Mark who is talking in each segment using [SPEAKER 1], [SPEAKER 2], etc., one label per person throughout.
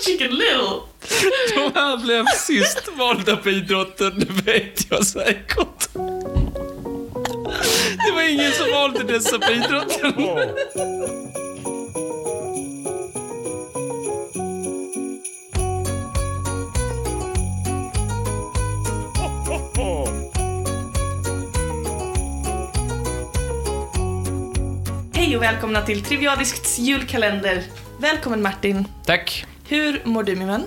[SPEAKER 1] Chicken Little.
[SPEAKER 2] De här blev sist valda på idrotten, det vet jag säkert. Det var ingen som valde dessa på idrotten.
[SPEAKER 1] Hej och välkomna till Triviadisks julkalender. Välkommen Martin.
[SPEAKER 2] Tack.
[SPEAKER 1] Hur mår du min vän?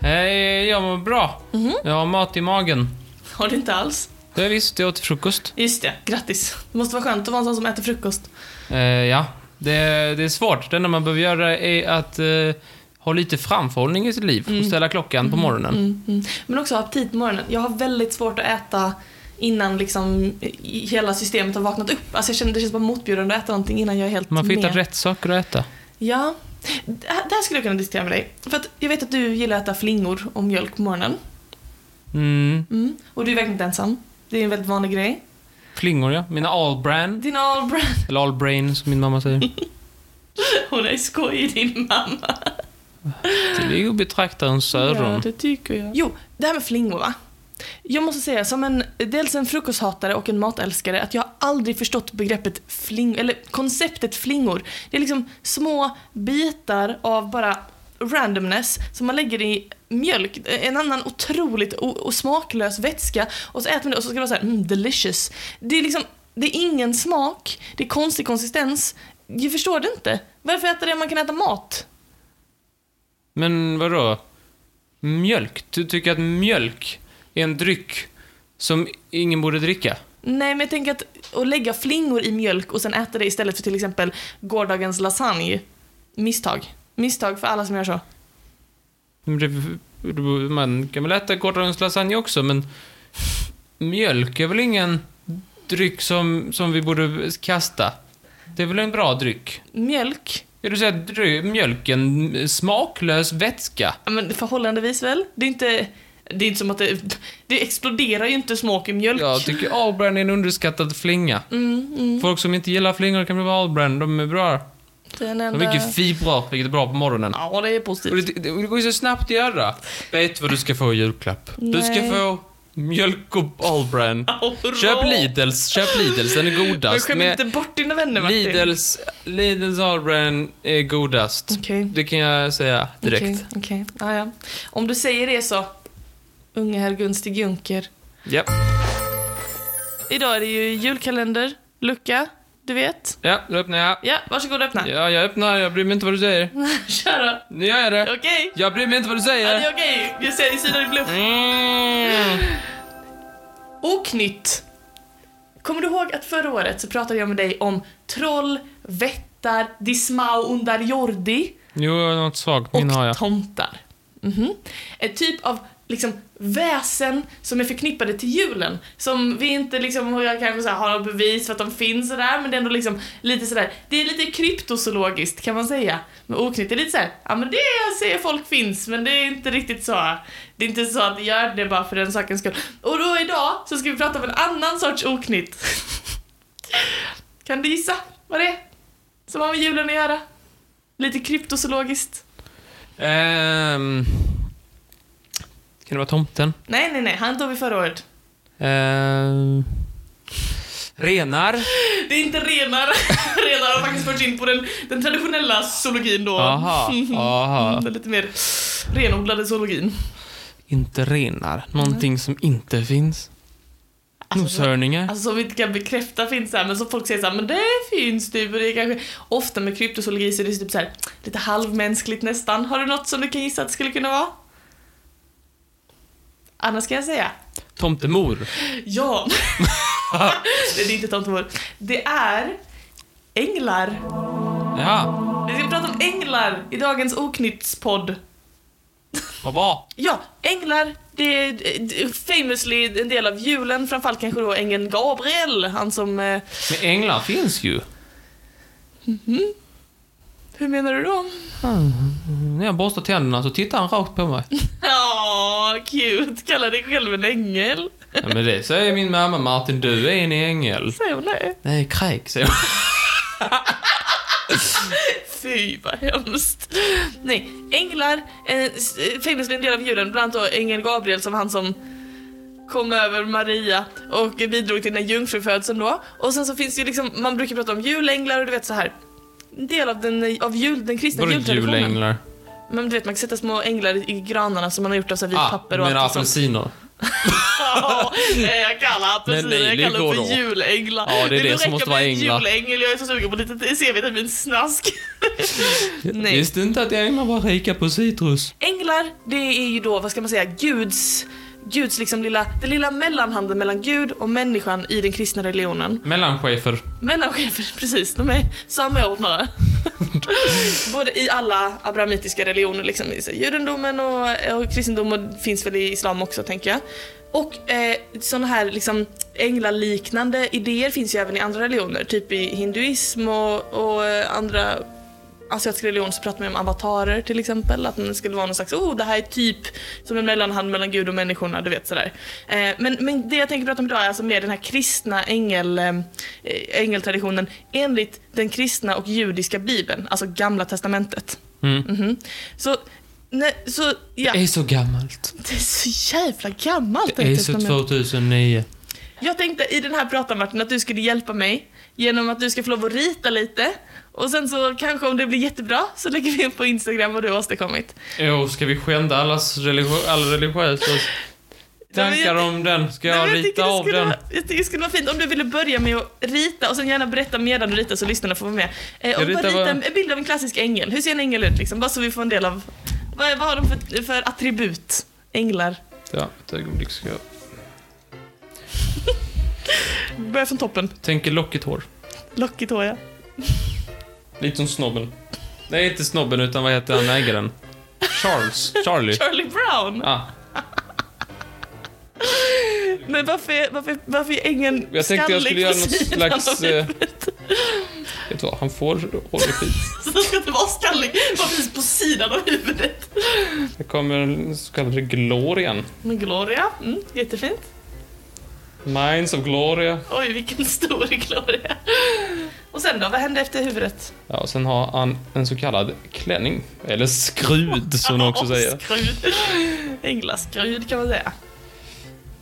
[SPEAKER 2] Hej, jag mår bra. Jag har mat i magen.
[SPEAKER 1] Mhm. Har du inte alls?
[SPEAKER 2] Det visst, jag åt frukost.
[SPEAKER 1] Just det, grattis. Det måste vara skönt att vara en sån som äter frukost.
[SPEAKER 2] Eh, ja, det, det är svårt. Det enda man behöver göra är att eh, ha lite framförhållning i sitt liv och ställa klockan på morgonen.
[SPEAKER 1] Mm, mm. Men också ha aptit på morgonen. Jag har väldigt svårt att äta innan liksom i- hela systemet har vaknat upp. Alltså jag känner, det känns bara motbjudande att äta någonting innan jag är helt
[SPEAKER 2] Man får hitta
[SPEAKER 1] med.
[SPEAKER 2] rätt saker att äta.
[SPEAKER 1] Ja. Det här det här skulle jag kunna diskutera med dig. För att jag vet att du gillar att äta flingor och mjölk på morgonen.
[SPEAKER 2] Mm.
[SPEAKER 1] Mm. Och du är verkligen inte ensam. Det är en väldigt vanlig grej.
[SPEAKER 2] Flingor, ja. Mina all brand.
[SPEAKER 1] Din all brand.
[SPEAKER 2] Eller all brain, som min mamma säger.
[SPEAKER 1] Hon är skojig din mamma.
[SPEAKER 2] Det är ju att betrakta en
[SPEAKER 1] Ja,
[SPEAKER 2] söron.
[SPEAKER 1] det tycker jag. Jo, det här med flingor va. Jag måste säga, som en, dels en frukosthatare och en matälskare, att jag har aldrig förstått begreppet flingor, eller konceptet flingor. Det är liksom små bitar av bara randomness som man lägger i mjölk, en annan otroligt o- och smaklös vätska och så äter man det och så ska det vara såhär mm, delicious. Det är liksom, det är ingen smak, det är konstig konsistens. Jag förstår det inte. Varför äta det om man kan äta mat?
[SPEAKER 2] Men vadå? Mjölk? Du tycker att mjölk är en dryck som ingen borde dricka?
[SPEAKER 1] Nej, men jag tänker att, att lägga flingor i mjölk och sen äta det istället för till exempel gårdagens lasagne. Misstag. Misstag för alla som gör så.
[SPEAKER 2] Men det- Man kan väl äta gårdagens lasagne också, men mjölk är väl ingen dryck som, som vi borde kasta? Det är väl en bra dryck?
[SPEAKER 1] Mjölk?
[SPEAKER 2] Är du säger att dry- mjölken är smaklös vätska?
[SPEAKER 1] Ja, men förhållandevis väl? Det är inte... Det är inte som att det... Det exploderar ju inte smak i mjölk.
[SPEAKER 2] Jag tycker Allbrand är en underskattad flinga.
[SPEAKER 1] Mm, mm.
[SPEAKER 2] Folk som inte gillar flingor kan bli med Allbrand, de är bra.
[SPEAKER 1] Det är en
[SPEAKER 2] De
[SPEAKER 1] enda...
[SPEAKER 2] har mycket fibrer, vilket är bra på morgonen.
[SPEAKER 1] Ja, det är
[SPEAKER 2] Och
[SPEAKER 1] positivt.
[SPEAKER 2] det, det, och det går ju så snabbt att göra. Vet du vad du ska få i julklapp? Du
[SPEAKER 1] Nej.
[SPEAKER 2] ska få mjölk och Allbrand.
[SPEAKER 1] Ja, bra.
[SPEAKER 2] Köp Lidls, köp Lidls, den är
[SPEAKER 1] Men
[SPEAKER 2] godast.
[SPEAKER 1] skäm
[SPEAKER 2] Med
[SPEAKER 1] inte bort dina vänner Martin.
[SPEAKER 2] Lidls, Lidls Allbrand är godast.
[SPEAKER 1] Okej.
[SPEAKER 2] Det kan jag säga direkt.
[SPEAKER 1] Okej, okej. Ja, ja. Om du säger det så. Unge herr Gunstig Junker.
[SPEAKER 2] Ja.
[SPEAKER 1] Idag är det ju julkalender, lucka, du vet.
[SPEAKER 2] ja, då öppnar jag.
[SPEAKER 1] Ja, varsågod och öppna.
[SPEAKER 2] Ja, jag öppnar, jag bryr mig inte vad du säger.
[SPEAKER 1] Kör då.
[SPEAKER 2] Nu gör jag det.
[SPEAKER 1] Okej?
[SPEAKER 2] Jag bryr mig inte vad du
[SPEAKER 1] Ja, det
[SPEAKER 2] säger.
[SPEAKER 1] är okej. Jag säger synar i bluff.
[SPEAKER 2] Mm.
[SPEAKER 1] Oknytt. Kommer du ihåg att förra året så pratade jag med dig om troll, vättar, dismau under jordi
[SPEAKER 2] Jo, jag har något svagt
[SPEAKER 1] och
[SPEAKER 2] minne har jag.
[SPEAKER 1] tomtar. Mhm. En typ av liksom väsen som är förknippade till julen. Som vi inte liksom, och jag kanske så här, har något bevis för att de finns sådär, men det är ändå liksom lite sådär, det är lite kryptozoologiskt kan man säga. Men oknytt, det är lite såhär, ja men det säger folk finns, men det är inte riktigt så. Det är inte så att gör det bara för den sakens skull. Och då idag så ska vi prata om en annan sorts oknytt. kan du gissa vad det är? Som har med julen att göra? Lite kryptozoologiskt.
[SPEAKER 2] Ehm, kan det vara tomten?
[SPEAKER 1] Nej, nej, nej. Han tog vi förra året.
[SPEAKER 2] Ehm, renar?
[SPEAKER 1] Det är inte renar. renar har faktiskt förts in på den, den traditionella zoologin då.
[SPEAKER 2] Aha, aha.
[SPEAKER 1] Den lite mer renodlade zoologin.
[SPEAKER 2] Inte renar. Någonting som inte finns. Noshörningar.
[SPEAKER 1] Alltså som vi inte kan bekräfta finns här, men som folk säger såhär, men det finns typ. Och det är kanske, ofta med kryptozoologi så är det typ såhär, lite halvmänskligt nästan. Har du något som du kan gissa att det skulle kunna vara? Annars kan jag säga.
[SPEAKER 2] Tomtemor.
[SPEAKER 1] Ja. det är inte tomtemor. Det är änglar.
[SPEAKER 2] Ja,
[SPEAKER 1] Vi ska prata om änglar i dagens Oknyttspodd.
[SPEAKER 2] vad bra.
[SPEAKER 1] Ja, änglar, det är det är famously en del av julen, framförallt kanske då ängeln Gabriel, han som... eh,
[SPEAKER 2] Men änglar finns ju.
[SPEAKER 1] Hur menar du då?
[SPEAKER 2] När jag borstar tänderna så tittar han rakt på mig.
[SPEAKER 1] Ja, cute, kallar dig själv en ängel.
[SPEAKER 2] Ja, men det säger min mamma Martin, du är en ängel.
[SPEAKER 1] Säger hon det?
[SPEAKER 2] Nej, kräk säger hon.
[SPEAKER 1] Fy vad hemskt. Nej, änglar, eh, s- eh, fängelse är en del av julen, bland annat då ängeln Gabriel som han som kom över Maria och bidrog till den här jungfrufödseln då. Och sen så finns det ju liksom, man brukar prata om julänglar och du vet så här. En del av den, eh, av jul, den kristna
[SPEAKER 2] Vadå
[SPEAKER 1] jultraditionen.
[SPEAKER 2] julänglar?
[SPEAKER 1] Men du vet man kan sätta små änglar i- i granarna som man har gjort av så här vitt
[SPEAKER 2] Ah,
[SPEAKER 1] papper och
[SPEAKER 2] men
[SPEAKER 1] allt sånt.
[SPEAKER 2] apelsiner.
[SPEAKER 1] Ja, nej, jag kallar apelsiner,
[SPEAKER 2] Nej, nej,
[SPEAKER 1] jag
[SPEAKER 2] det
[SPEAKER 1] kallar
[SPEAKER 2] går
[SPEAKER 1] dem för
[SPEAKER 2] åt.
[SPEAKER 1] julänglar.
[SPEAKER 2] Ja, det är det
[SPEAKER 1] borde
[SPEAKER 2] som
[SPEAKER 1] räcka
[SPEAKER 2] måste
[SPEAKER 1] med
[SPEAKER 2] vara
[SPEAKER 1] en
[SPEAKER 2] änglar.
[SPEAKER 1] Julängel, jag är så sugen på lite C-vitaminsnask. Nej.
[SPEAKER 2] Visste inte att änglar var rika på citrus.
[SPEAKER 1] Änglar, det är ju då, vad ska man säga, Guds, Guds liksom lilla, den lilla mellanhanden mellan Gud och människan i den kristna religionen.
[SPEAKER 2] Mellanchefer.
[SPEAKER 1] Mellanchefer, precis, de är samordnare. Både i alla abrahamitiska religioner, liksom i så här judendomen och, och kristendomen finns väl i islam också tänker jag. Och eh, sådana här liksom änglaliknande idéer finns ju även i andra religioner, typ i hinduism och, och eh, andra asiatisk religion så pratar man ju om avatarer till exempel, att den skulle vara någon slags, oh det här är typ som en mellanhand mellan gud och människorna, du vet sådär. Eh, men, men det jag tänker prata om idag är alltså mer den här kristna ängel, eh, ängeltraditionen enligt den kristna och judiska bibeln, alltså gamla testamentet.
[SPEAKER 2] Mm.
[SPEAKER 1] Mhm. Så, nej, så ja,
[SPEAKER 2] Det är så gammalt.
[SPEAKER 1] det är så jävla gammalt
[SPEAKER 2] Det är så 2009.
[SPEAKER 1] jag tänkte i den här pratan Martin att du skulle hjälpa mig genom att du ska få lov att rita lite och sen så kanske om det blir jättebra så lägger vi upp på Instagram vad du har åstadkommit.
[SPEAKER 2] Jo, ska vi skända allas religio- alla religiösa tankar om den? Ska
[SPEAKER 1] Nej,
[SPEAKER 2] jag
[SPEAKER 1] men
[SPEAKER 2] rita
[SPEAKER 1] tycker det
[SPEAKER 2] av
[SPEAKER 1] skulle
[SPEAKER 2] den?
[SPEAKER 1] Vara, jag tycker det skulle vara fint om du ville börja med att rita och sen gärna berätta medan du ritar så lyssnarna får vara med. Eh, och bara
[SPEAKER 2] ritar
[SPEAKER 1] rita
[SPEAKER 2] vad-
[SPEAKER 1] en en bild av en klassisk ängel. Hur ser en ängel ut liksom? Bara så vi får en del av... Vad, vad har de för, för attribut? Änglar.
[SPEAKER 2] Ja, ett ögonblick ska jag...
[SPEAKER 1] Börja från toppen.
[SPEAKER 2] Tänker lockigt hår.
[SPEAKER 1] Lockigt hår ja.
[SPEAKER 2] Lite som snobben. Nej, inte snobben, utan vad heter han, ägaren? Charles. Charlie.
[SPEAKER 1] Charlie Brown!
[SPEAKER 2] Ah,
[SPEAKER 1] Men varför, är- varför, varför är ängeln
[SPEAKER 2] jag tänkte jag skulle
[SPEAKER 1] skallig
[SPEAKER 2] göra
[SPEAKER 1] på
[SPEAKER 2] något
[SPEAKER 1] sidan av
[SPEAKER 2] slags... Eh, vet du vad, han får håret fint.
[SPEAKER 1] Så den ska inte vara skallig, bara precis på sidan av huvudet.
[SPEAKER 2] Det kommer en så kallad Glorian.
[SPEAKER 1] Men Gloria, mm, jättefint.
[SPEAKER 2] Minds of Gloria.
[SPEAKER 1] Oj, vilken stor Gloria. Och sen då, vad hände efter huvudet?
[SPEAKER 2] Ja, och sen har han en så kallad klänning. Eller skrud, som de också
[SPEAKER 1] Ja,
[SPEAKER 2] säger.
[SPEAKER 1] Skrud. Änglaskrud kan man säga.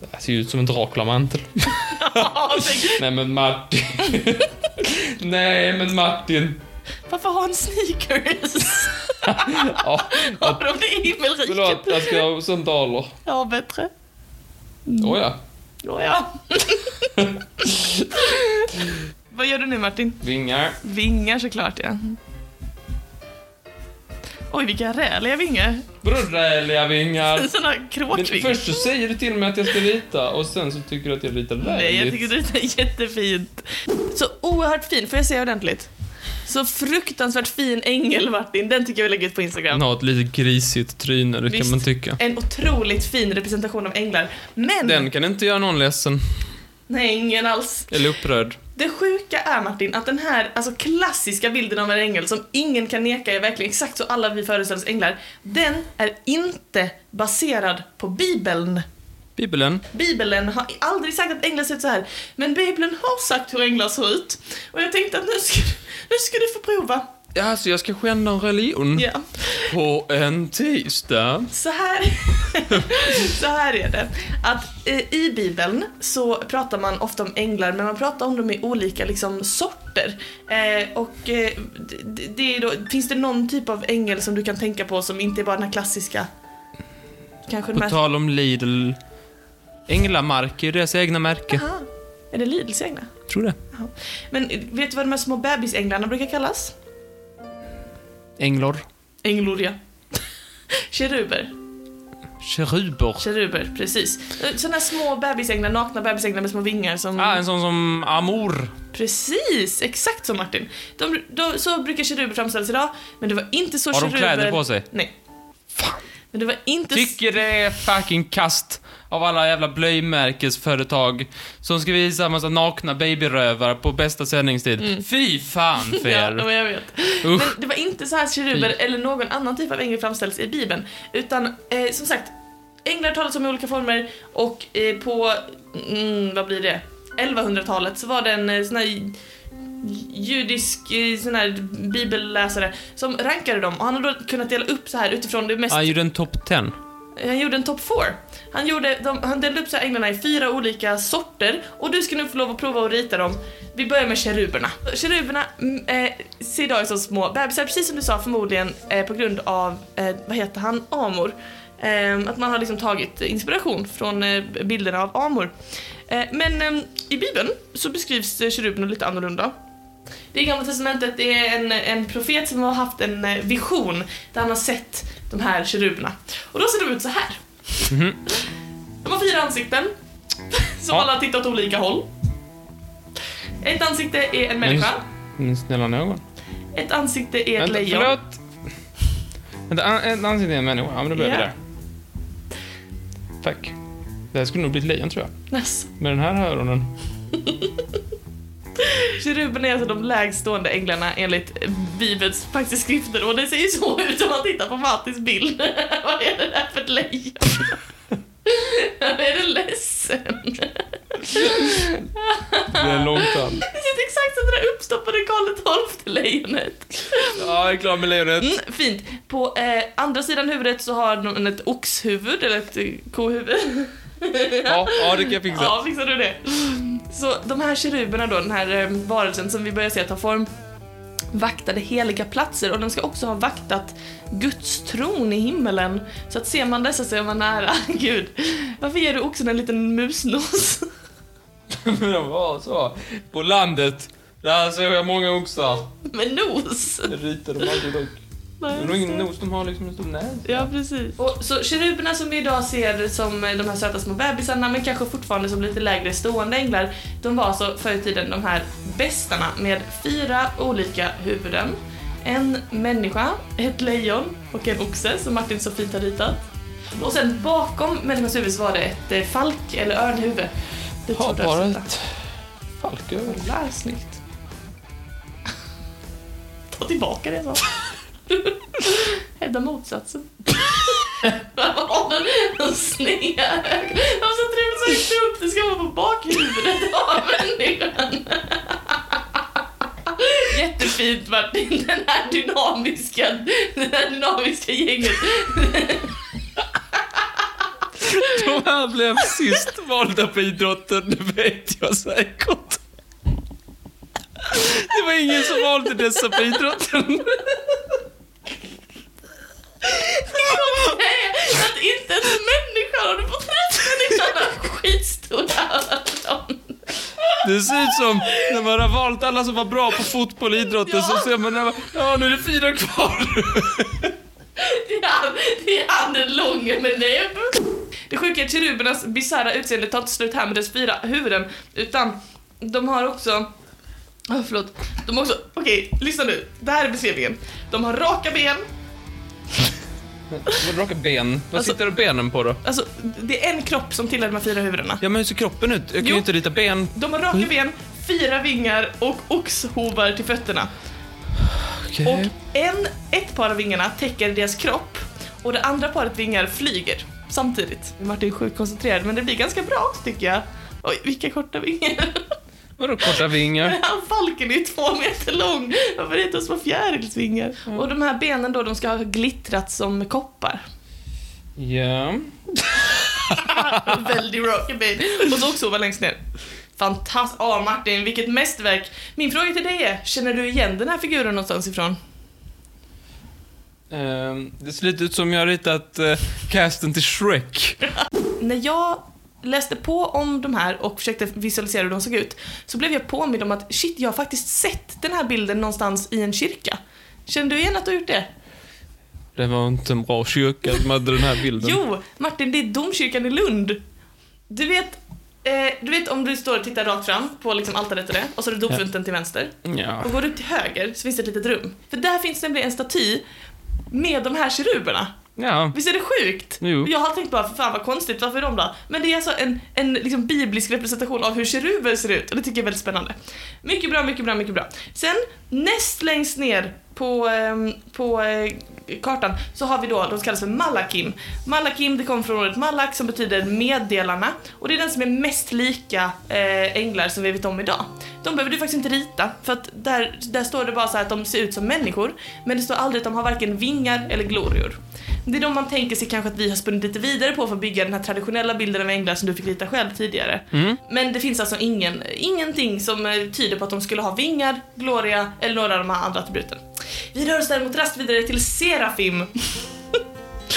[SPEAKER 2] Det ser ju ut som en Draculamantel.
[SPEAKER 1] Ja, tänk,
[SPEAKER 2] Nej men Martin. Nej men Martin.
[SPEAKER 1] Varför har han sneakers?
[SPEAKER 2] Ja,
[SPEAKER 1] Har de det i himmelriket?
[SPEAKER 2] förlåt, jag ska ha sandaler.
[SPEAKER 1] Ja, bättre. Mm.
[SPEAKER 2] Åja, ja,
[SPEAKER 1] Oh, ja. Vad gör du nu Martin?
[SPEAKER 2] vingar.
[SPEAKER 1] Vingar såklart ja. Oj, vilka räliga vingar.
[SPEAKER 2] Brödräliga vingar.
[SPEAKER 1] Sådana
[SPEAKER 2] Men
[SPEAKER 1] kråkvingar.
[SPEAKER 2] först så säger du till mig att jag ska rita och sen så tycker du att jag ritar
[SPEAKER 1] Nej, jag tycker
[SPEAKER 2] lägligt.
[SPEAKER 1] det är jättefint. Så oerhört fin, får jag säga ordentligt? Så fruktansvärt fin ängel Martin, den tycker jag vi lägger ut på Instagram.
[SPEAKER 2] Han har ett lite grisigt tryne, det
[SPEAKER 1] Visst.
[SPEAKER 2] kan man tycka.
[SPEAKER 1] En otroligt fin representation av änglar. Men,
[SPEAKER 2] Den kan inte göra någon ledsen.
[SPEAKER 1] nej ingen alls.
[SPEAKER 2] Eller upprörd.
[SPEAKER 1] Det sjuka är Martin att den här alltså, klassiska bilden av en ängel som ingen kan neka är verkligen exakt så alla vi föreställer oss änglar. Den är inte baserad på bibeln.
[SPEAKER 2] Bibeln.
[SPEAKER 1] Bibeln har aldrig sagt att änglar ser ut så här, men Bibeln har sagt hur änglar ser ut. Och jag tänkte att nu ska, nu ska du få prova.
[SPEAKER 2] Ja, alltså jag ska skända en religion.
[SPEAKER 1] Ja.
[SPEAKER 2] På en tisdag.
[SPEAKER 1] Så här, så här är det. Att eh, i Bibeln så pratar man ofta om änglar men man pratar om dem i olika liksom, sorter. Eh, och eh, det, det är då, finns det någon typ av ängel som du kan tänka på som inte är bara den här klassiska? Kanske den
[SPEAKER 2] På
[SPEAKER 1] här...
[SPEAKER 2] tal om Lidl. Änglamark är ju deras egna märke.
[SPEAKER 1] Aha, är det Lidls änglar?
[SPEAKER 2] Tror det.
[SPEAKER 1] Men eh, vet du vad de här små bebisänglarna brukar kallas?
[SPEAKER 2] Änglor.
[SPEAKER 1] Änglor ja. Keruber.
[SPEAKER 2] Keruber.
[SPEAKER 1] Keruber, precis. Eh, Såna här små bebisänglar, nakna bebisänglar med små vingar som...
[SPEAKER 2] Ah, en sån som Amor.
[SPEAKER 1] Precis, exakt som Martin. De, de, så brukar keruber framställas idag, men det var inte så
[SPEAKER 2] Har de
[SPEAKER 1] keruber...
[SPEAKER 2] kläder på sig?
[SPEAKER 1] Nej. Men det var inte... s-
[SPEAKER 2] Tycker det är fucking kast av alla jävla blöjmärkesföretag som ska visa massa nakna babyrövar på bästa sändningstid. Fy fan för
[SPEAKER 1] Mm. Ja,
[SPEAKER 2] er.
[SPEAKER 1] men jag vet.
[SPEAKER 2] Usch.
[SPEAKER 1] Men det var inte så här keruber eller någon annan typ av ängel framställs i Bibeln, utan eh, som sagt, änglar talas om i olika former och eh, på, mm, vad blir det, 1100-talet så var det en eh, sån här judisk eh, sån här bibelläsare som rankade dem och han har då kunnat dela upp så här utifrån det mest
[SPEAKER 2] Han gjorde en topp 10.
[SPEAKER 1] Han gjorde en top four. Han, gjorde, de, han delade upp så här änglarna i fyra olika sorter och du ska nu få lov att prova att rita dem. Vi börjar med keruberna. Keruberna mm, eh, ser idag ut som små bebisar, precis som du sa förmodligen eh, på grund av, eh, vad heter han, Amor. Eh, att man har liksom tagit inspiration från eh, bilderna av Amor. Eh, men eh, i Bibeln så beskrivs eh, keruberna lite annorlunda. Det är Gamla Testamentet, det är en, en profet som har haft en eh, vision där han har sett de här keruberna. Och då ser de ut så här.
[SPEAKER 2] Mhm.
[SPEAKER 1] De har fyra ansikten, som
[SPEAKER 2] Ja.
[SPEAKER 1] alla har tittat åt olika håll. Ett ansikte är en människa,
[SPEAKER 2] Men snälla någon.
[SPEAKER 1] ett ansikte är ett
[SPEAKER 2] Vänta,
[SPEAKER 1] lejon.
[SPEAKER 2] förlåt. Vänta, an- ett ansikte är en människa. Ja, men då börjar
[SPEAKER 1] Ja.
[SPEAKER 2] vi där. Tack. Det här skulle nog bli ett lejon, tror jag.
[SPEAKER 1] Näs.
[SPEAKER 2] Med den här öronen.
[SPEAKER 1] Keruberna är alltså de lägstående änglarna enligt eh, Bibelns faktiska skrifter och det ser ju så ut om man tittar på Mattis bild. Vad är det där för ett lejon? Jag är du ledsen?
[SPEAKER 2] Det är en långtand.
[SPEAKER 1] Det ser ut exakt som det där uppstoppade Karl XII-lejonet.
[SPEAKER 2] Ja, jag är klar med lejonet.
[SPEAKER 1] Mm, fint. På eh, andra sidan huvudet så har de ett oxhuvud, eller ett eh, kohuvud.
[SPEAKER 2] Ja, ja, det kan jag fixa.
[SPEAKER 1] Ja, fixar du det? Så de här keruberna då, den här eh, varelsen som vi börjar se ta form, vaktade heliga platser och de ska också ha vaktat Guds tron i himmelen. Så att ser man dessa så är man nära Gud. Varför ger du oxen en liten musnos?
[SPEAKER 2] Men de var så. På landet. Där såg jag många oxar.
[SPEAKER 1] Med nos?
[SPEAKER 2] Det ritade de aldrig dock. Det är nog ingen nos, de har liksom en stor näsa.
[SPEAKER 1] Ja, precis. Och, så keruberna som vi idag ser som eh, de här söta små bebisarna, men kanske fortfarande som lite lägre stående änglar, de var alltså förr i tiden de här bestarna med fyra olika huvuden. En människa, ett lejon och en oxe som Martin så fint har ritat. Och sen bakom människans huvud så var det ett eh, falk eller örnhuvud. Det
[SPEAKER 2] Har
[SPEAKER 1] trodde
[SPEAKER 2] bara
[SPEAKER 1] jag att-
[SPEAKER 2] ett falköl.
[SPEAKER 1] Kolla, snyggt. Ta tillbaka det jag sa. Hävda motsatsen. De snear. Varför så trevligt så högt upp? Det ska vara på bakhuvudet av människan. Jättefint Martin, den här dynamiska, den här dynamiska gänget.
[SPEAKER 2] De här blev sist valda på idrotten, det vet jag säkert. Det var ingen som valde dessa på idrotten.
[SPEAKER 1] Nej, att inte ens människan, har du fått rätt? Människan har skitstora öron.
[SPEAKER 2] Det ser ut som när man har valt alla som var bra på fotboll och idrotten så
[SPEAKER 1] Ja.
[SPEAKER 2] ser man, när man ja nu är det fyra kvar.
[SPEAKER 1] Det är han- Det är han den långe med näbb. Det sjuka är att kerubernas bisarra utseende tar inte slut här med dess fyra huvuden, utan de har också... Oh, förlåt. De har också... Okej, lyssna nu. Det här är beskrivningen. De har raka ben,
[SPEAKER 2] Raka ben, vad
[SPEAKER 1] Alltså-
[SPEAKER 2] sitter benen på då?
[SPEAKER 1] alltså det är en kropp som tillhör de här fyra huvudena.
[SPEAKER 2] Ja men hur ser kroppen ut? Jag kan
[SPEAKER 1] Jo.
[SPEAKER 2] ju inte rita ben.
[SPEAKER 1] De har raka ben, fyra vingar och oxhovar till fötterna. Och
[SPEAKER 2] Okej.
[SPEAKER 1] en, ett par av vingarna täcker deras kropp och det andra paret vingar flyger samtidigt. Martin är sjukt koncentrerad men det blir ganska bra tycker jag. Oj, vilka korta vingar.
[SPEAKER 2] Vadå korta vingar?
[SPEAKER 1] Han falken är ju två meter lång. Varför är det inte små fjärilsvingar? Och de här benen då, de ska ha glittrat som koppar.
[SPEAKER 2] Ja.
[SPEAKER 1] Väldigt rocky baby. Och så också var längst ner. Fantastiskt. Ah Martin, vilket mästerverk. Min fråga till dig är, känner du igen den här figuren någonstans ifrån?
[SPEAKER 2] Ehm, det ser lite ut som jag har ritat eh, casten till Shrek.
[SPEAKER 1] när jag läste på om de här och försökte visualisera hur de såg ut så blev jag påmind om att shit, jag har faktiskt sett den här bilden någonstans i en kyrka. Känner du igen att du har gjort det?
[SPEAKER 2] Det var inte en bra kyrka som hade den här bilden.
[SPEAKER 1] Jo, Martin, det är domkyrkan i Lund. Du vet, eh, du vet om du står och tittar rakt fram på liksom altaret och det, och så är det dopfunten till vänster.
[SPEAKER 2] Ja.
[SPEAKER 1] Och går du upp till höger så finns det ett litet rum. För där finns nämligen en staty med de här keruberna.
[SPEAKER 2] Ja.
[SPEAKER 1] Visst är det sjukt?
[SPEAKER 2] Jo.
[SPEAKER 1] Jag har tänkt bara, för fan vad konstigt, varför är de då? Men det är alltså en, en liksom biblisk representation av hur keruber ser ut och det tycker jag är väldigt spännande. Mycket bra, mycket bra, mycket bra. Sen näst längst ner på, ehm, på eh, kartan så har vi då, de kallas för Malakim. Malakim, det kommer från ordet Malak som betyder meddelarna och det är den som är mest lika eh, änglar som vi vet om idag. De behöver du faktiskt inte rita för att där, där står det bara så här att de ser ut som människor men det står aldrig att de har varken vingar eller glorior. Det är de man tänker sig kanske att vi har spunnit lite vidare på för att bygga den här traditionella bilden av änglar som du fick rita själv tidigare.
[SPEAKER 2] Mm.
[SPEAKER 1] Men det finns alltså ingen, ingenting som eh, tyder på att de skulle ha vingar, gloria eller några av de här andra attributen. Vi rör oss däremot raskt vidare till Serafim.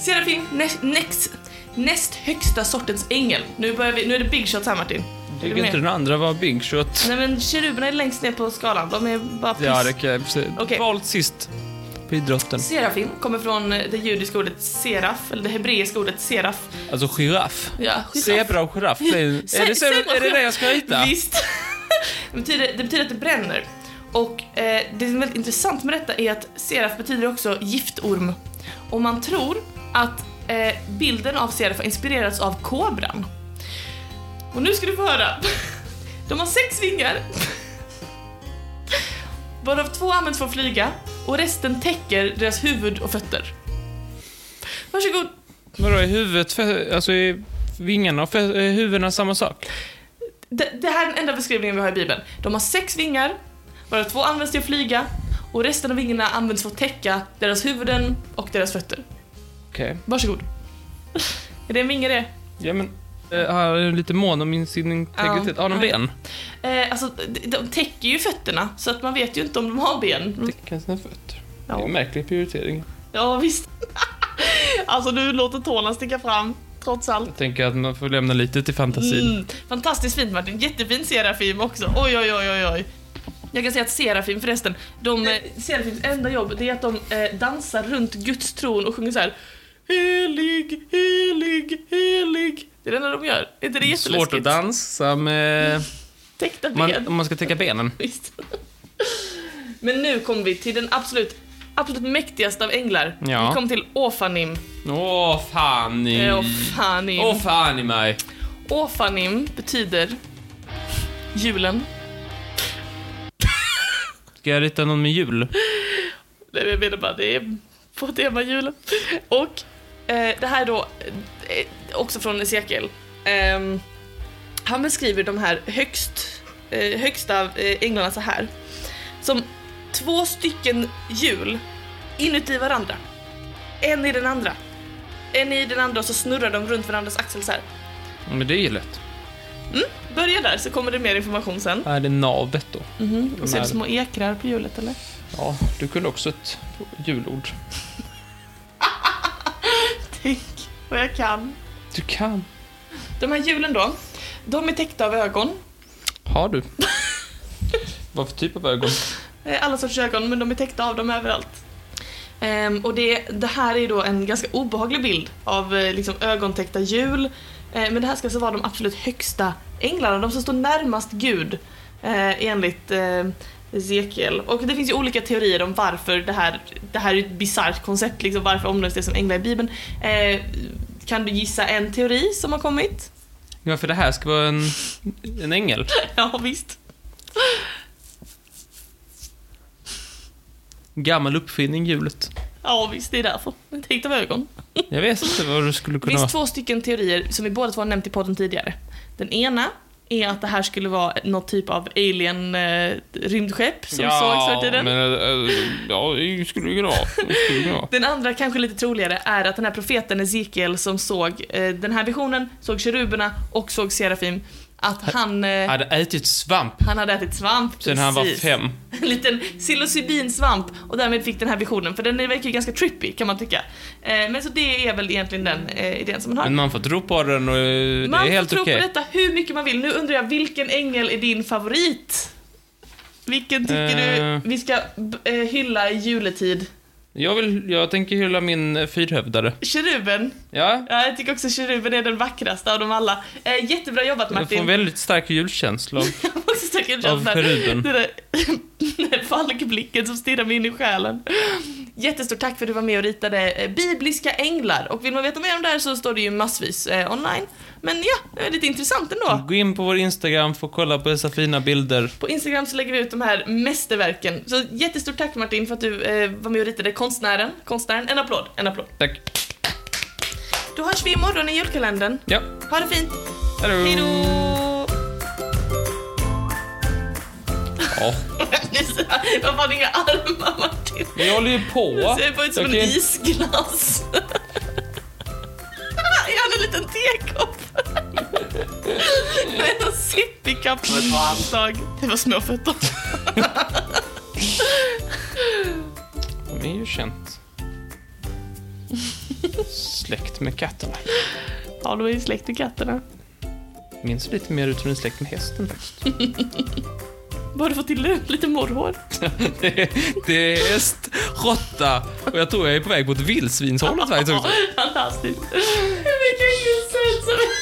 [SPEAKER 1] Serafim, nä- näst, näst högsta sortens ängel. Nu, börjar vi, nu är det big shots här Martin. Är
[SPEAKER 2] Jag
[SPEAKER 1] du
[SPEAKER 2] tycker
[SPEAKER 1] med?
[SPEAKER 2] inte den andra var big shot.
[SPEAKER 1] Nej men keruberna är längst ner på skalan, de är bara piss.
[SPEAKER 2] Ja, det kan jag se.
[SPEAKER 1] Okej.
[SPEAKER 2] Valt sist på idrotten.
[SPEAKER 1] Serafim kommer från eh, det judiska ordet seraf, eller det hebreiska ordet seraf.
[SPEAKER 2] Alltså giraff.
[SPEAKER 1] Ja, skitsamma.
[SPEAKER 2] Zebra och giraff. Det är, är, det,
[SPEAKER 1] Zebra
[SPEAKER 2] zebra,
[SPEAKER 1] och
[SPEAKER 2] är det
[SPEAKER 1] giraff.
[SPEAKER 2] det jag ska rita?
[SPEAKER 1] Visst. det, betyder, det betyder att det bränner. Och eh, det som är väldigt intressant med detta är att seraf betyder också giftorm. Och man tror att eh, bilden av seraf har inspirerats av kobran. Och nu ska du få höra. De har sex vingar. Varav två används för att flyga och resten täcker deras huvud och fötter. Varsågod.
[SPEAKER 2] Vadå, är huvudet för, Alltså är vingarna och för, är huvudena samma sak?
[SPEAKER 1] Det, det här är den enda beskrivningen vi har i Bibeln. De har sex vingar, varav två används till att flyga och resten av vingarna används för att täcka deras huvuden och deras fötter.
[SPEAKER 2] Okej.
[SPEAKER 1] Varsågod. Är det en vinge det?
[SPEAKER 2] Ja, men... eh, Jag är lite mån om min sin integritet.
[SPEAKER 1] Ja.
[SPEAKER 2] Har de ben?
[SPEAKER 1] Eh, alltså, de, de täcker ju fötterna så att man vet ju inte om de har ben.
[SPEAKER 2] Täcka sina fötter. Det är
[SPEAKER 1] Mm. Ja,
[SPEAKER 2] en märklig prioritering.
[SPEAKER 1] ja visst. alltså du låter tårna sticka fram, trots allt.
[SPEAKER 2] Jag tänker att man får lämna lite till fantasin.
[SPEAKER 1] Mm, fantastiskt fint Martin, jättefin Serafim också. Oj, oj, oj, oj, oj. Jag kan säga att Serafim förresten, de, eh, Serafims enda jobb det är att de eh, dansar runt Guds tron och sjunger så här. Helig, helig, helig. Det är det enda de gör. Är inte det
[SPEAKER 2] Svårt att
[SPEAKER 1] jätteläskigt?
[SPEAKER 2] dansa med...
[SPEAKER 1] Täckta ben.
[SPEAKER 2] Man, om man ska täcka benen.
[SPEAKER 1] Visst. Men nu kommer vi till den absolut, absolut mäktigaste av änglar.
[SPEAKER 2] Ja.
[SPEAKER 1] Vi kommer till Eh, Ofanim.
[SPEAKER 2] Åh, fan i...
[SPEAKER 1] Eh,
[SPEAKER 2] Åh,
[SPEAKER 1] Ofanim.
[SPEAKER 2] fan i mig.
[SPEAKER 1] Ofanim betyder julen.
[SPEAKER 2] Ska jag rita någon med jul?
[SPEAKER 1] Nej, men jag menar bara, det är på tema julen. Och eh, det här då, eh, också från Ezekiel. Ehm, han beskriver de här högst, eh, högsta eh, änglarna så här. Som två stycken hjul inuti varandra. En i den andra. En i den andra och så snurrar de runt varandras axel så här.
[SPEAKER 2] Ja, Men det är ju lätt.
[SPEAKER 1] Börja där så kommer det mer information sen.
[SPEAKER 2] Här är navet då.
[SPEAKER 1] Mhm. Och så är det små ekrar på hjulet eller?
[SPEAKER 2] Ja, du kunde också ett julord.
[SPEAKER 1] Tänk vad jag kan.
[SPEAKER 2] Du kan.
[SPEAKER 1] De här hjulen då, de är täckta av ögon.
[SPEAKER 2] Har du? Vad för typ av ögon?
[SPEAKER 1] Eh, Alla sorters ögon, men de är täckta av dem överallt. Ehm, och det, det här är då en ganska obehaglig bild av eh, liksom, ögontäckta hjul. Eh, men det här ska alltså vara de absolut högsta änglarna, de som står närmast Gud eh, enligt eh, Ezekiel. Och det finns ju olika teorier om varför det här, det här är ju ett bisarrt koncept, liksom, varför omnämns det som änglar i Bibeln. Eh, kan du gissa en teori som har kommit?
[SPEAKER 2] Ja, för det här ska vara en, en ängel.
[SPEAKER 1] ja, visst.
[SPEAKER 2] Gammal uppfinning, hjulet.
[SPEAKER 1] Ja, visst, det är därför. Täckta av ögon.
[SPEAKER 2] Jag vet inte vad det skulle kunna
[SPEAKER 1] Det
[SPEAKER 2] vara.
[SPEAKER 1] finns två stycken teorier som vi båda två har nämnt i podden tidigare. Den ena är att det här skulle vara något typ av alien eh, rymdskepp som sågs förr i tiden.
[SPEAKER 2] Men, eh, ja, det skulle det kunna vara. Det skulle det kunna vara.
[SPEAKER 1] Den andra, kanske lite troligare, är att den här profeten Ezekiel som såg eh, den här visionen, såg keruberna och såg Serafim, att han, eh,
[SPEAKER 2] Hade ätit svamp
[SPEAKER 1] han hade ätit svamp.
[SPEAKER 2] sen han var
[SPEAKER 1] precis.
[SPEAKER 2] fem.
[SPEAKER 1] En liten psilocybinsvamp och därmed fick den här visionen, för den verkar ju ganska trippy kan man tycka. Eh, men så det är väl egentligen den eh, idén som man har.
[SPEAKER 2] Men man får tro på den och eh,
[SPEAKER 1] Man
[SPEAKER 2] det är helt
[SPEAKER 1] får tro
[SPEAKER 2] okej.
[SPEAKER 1] på detta hur mycket man vill. Nu undrar jag, vilken ängel är din favorit? Vilken tycker
[SPEAKER 2] Eh.
[SPEAKER 1] du vi ska b- eh, hylla i juletid?
[SPEAKER 2] Jag, vill, jag tänker hylla min eh, fyrhövdare.
[SPEAKER 1] Keruben.
[SPEAKER 2] Ja,
[SPEAKER 1] Ja, jag tycker också keruben är den vackraste av dem alla. Eh, jättebra jobbat
[SPEAKER 2] jag får en
[SPEAKER 1] Martin.
[SPEAKER 2] väldigt stark julkänsla.
[SPEAKER 1] Jag måste söka en
[SPEAKER 2] Av
[SPEAKER 1] känsla.
[SPEAKER 2] keruben.
[SPEAKER 1] Den där falkblicken som stirrar mig in i själen. Jättestort tack för att du var med och ritade eh, bibliska änglar. Och vill man veta mer om det här så står det ju massvis eh, online. Men ja, det är lite intressant ändå.
[SPEAKER 2] Gå in på vår Instagram för att kolla på dessa fina bilder.
[SPEAKER 1] På Instagram så lägger vi ut de här mästerverken. Så jättestort tack Martin för att du eh, var med och ritade konstnären. Konstnären. En applåd, en applåd.
[SPEAKER 2] Tack.
[SPEAKER 1] Då hörs vi imorgon i julkalendern.
[SPEAKER 2] Ja,
[SPEAKER 1] Ha det fint.
[SPEAKER 2] hallå.
[SPEAKER 1] Hej då!
[SPEAKER 2] Ja.
[SPEAKER 1] Jag har inga armar Martin.
[SPEAKER 2] Men jag håller ju på.
[SPEAKER 1] Du ser bara ut som
[SPEAKER 2] Jag
[SPEAKER 1] en
[SPEAKER 2] kan-
[SPEAKER 1] isglass. Jag hade en liten tekopp. Med en sippikapp och ett handtag. Det var små fötter.
[SPEAKER 2] De är ju känt. Släkt med katterna.
[SPEAKER 1] Ja, de är ju släkt med katterna.
[SPEAKER 2] Minns lite mer ut som en släkt med hästen faktiskt.
[SPEAKER 1] Borde få till det, lite morrhår.
[SPEAKER 2] Det är, det är häst, råtta och jag tror jag är på väg mot vildsvinshållet faktiskt också.
[SPEAKER 1] Fantastiskt. Vilken gulsöt som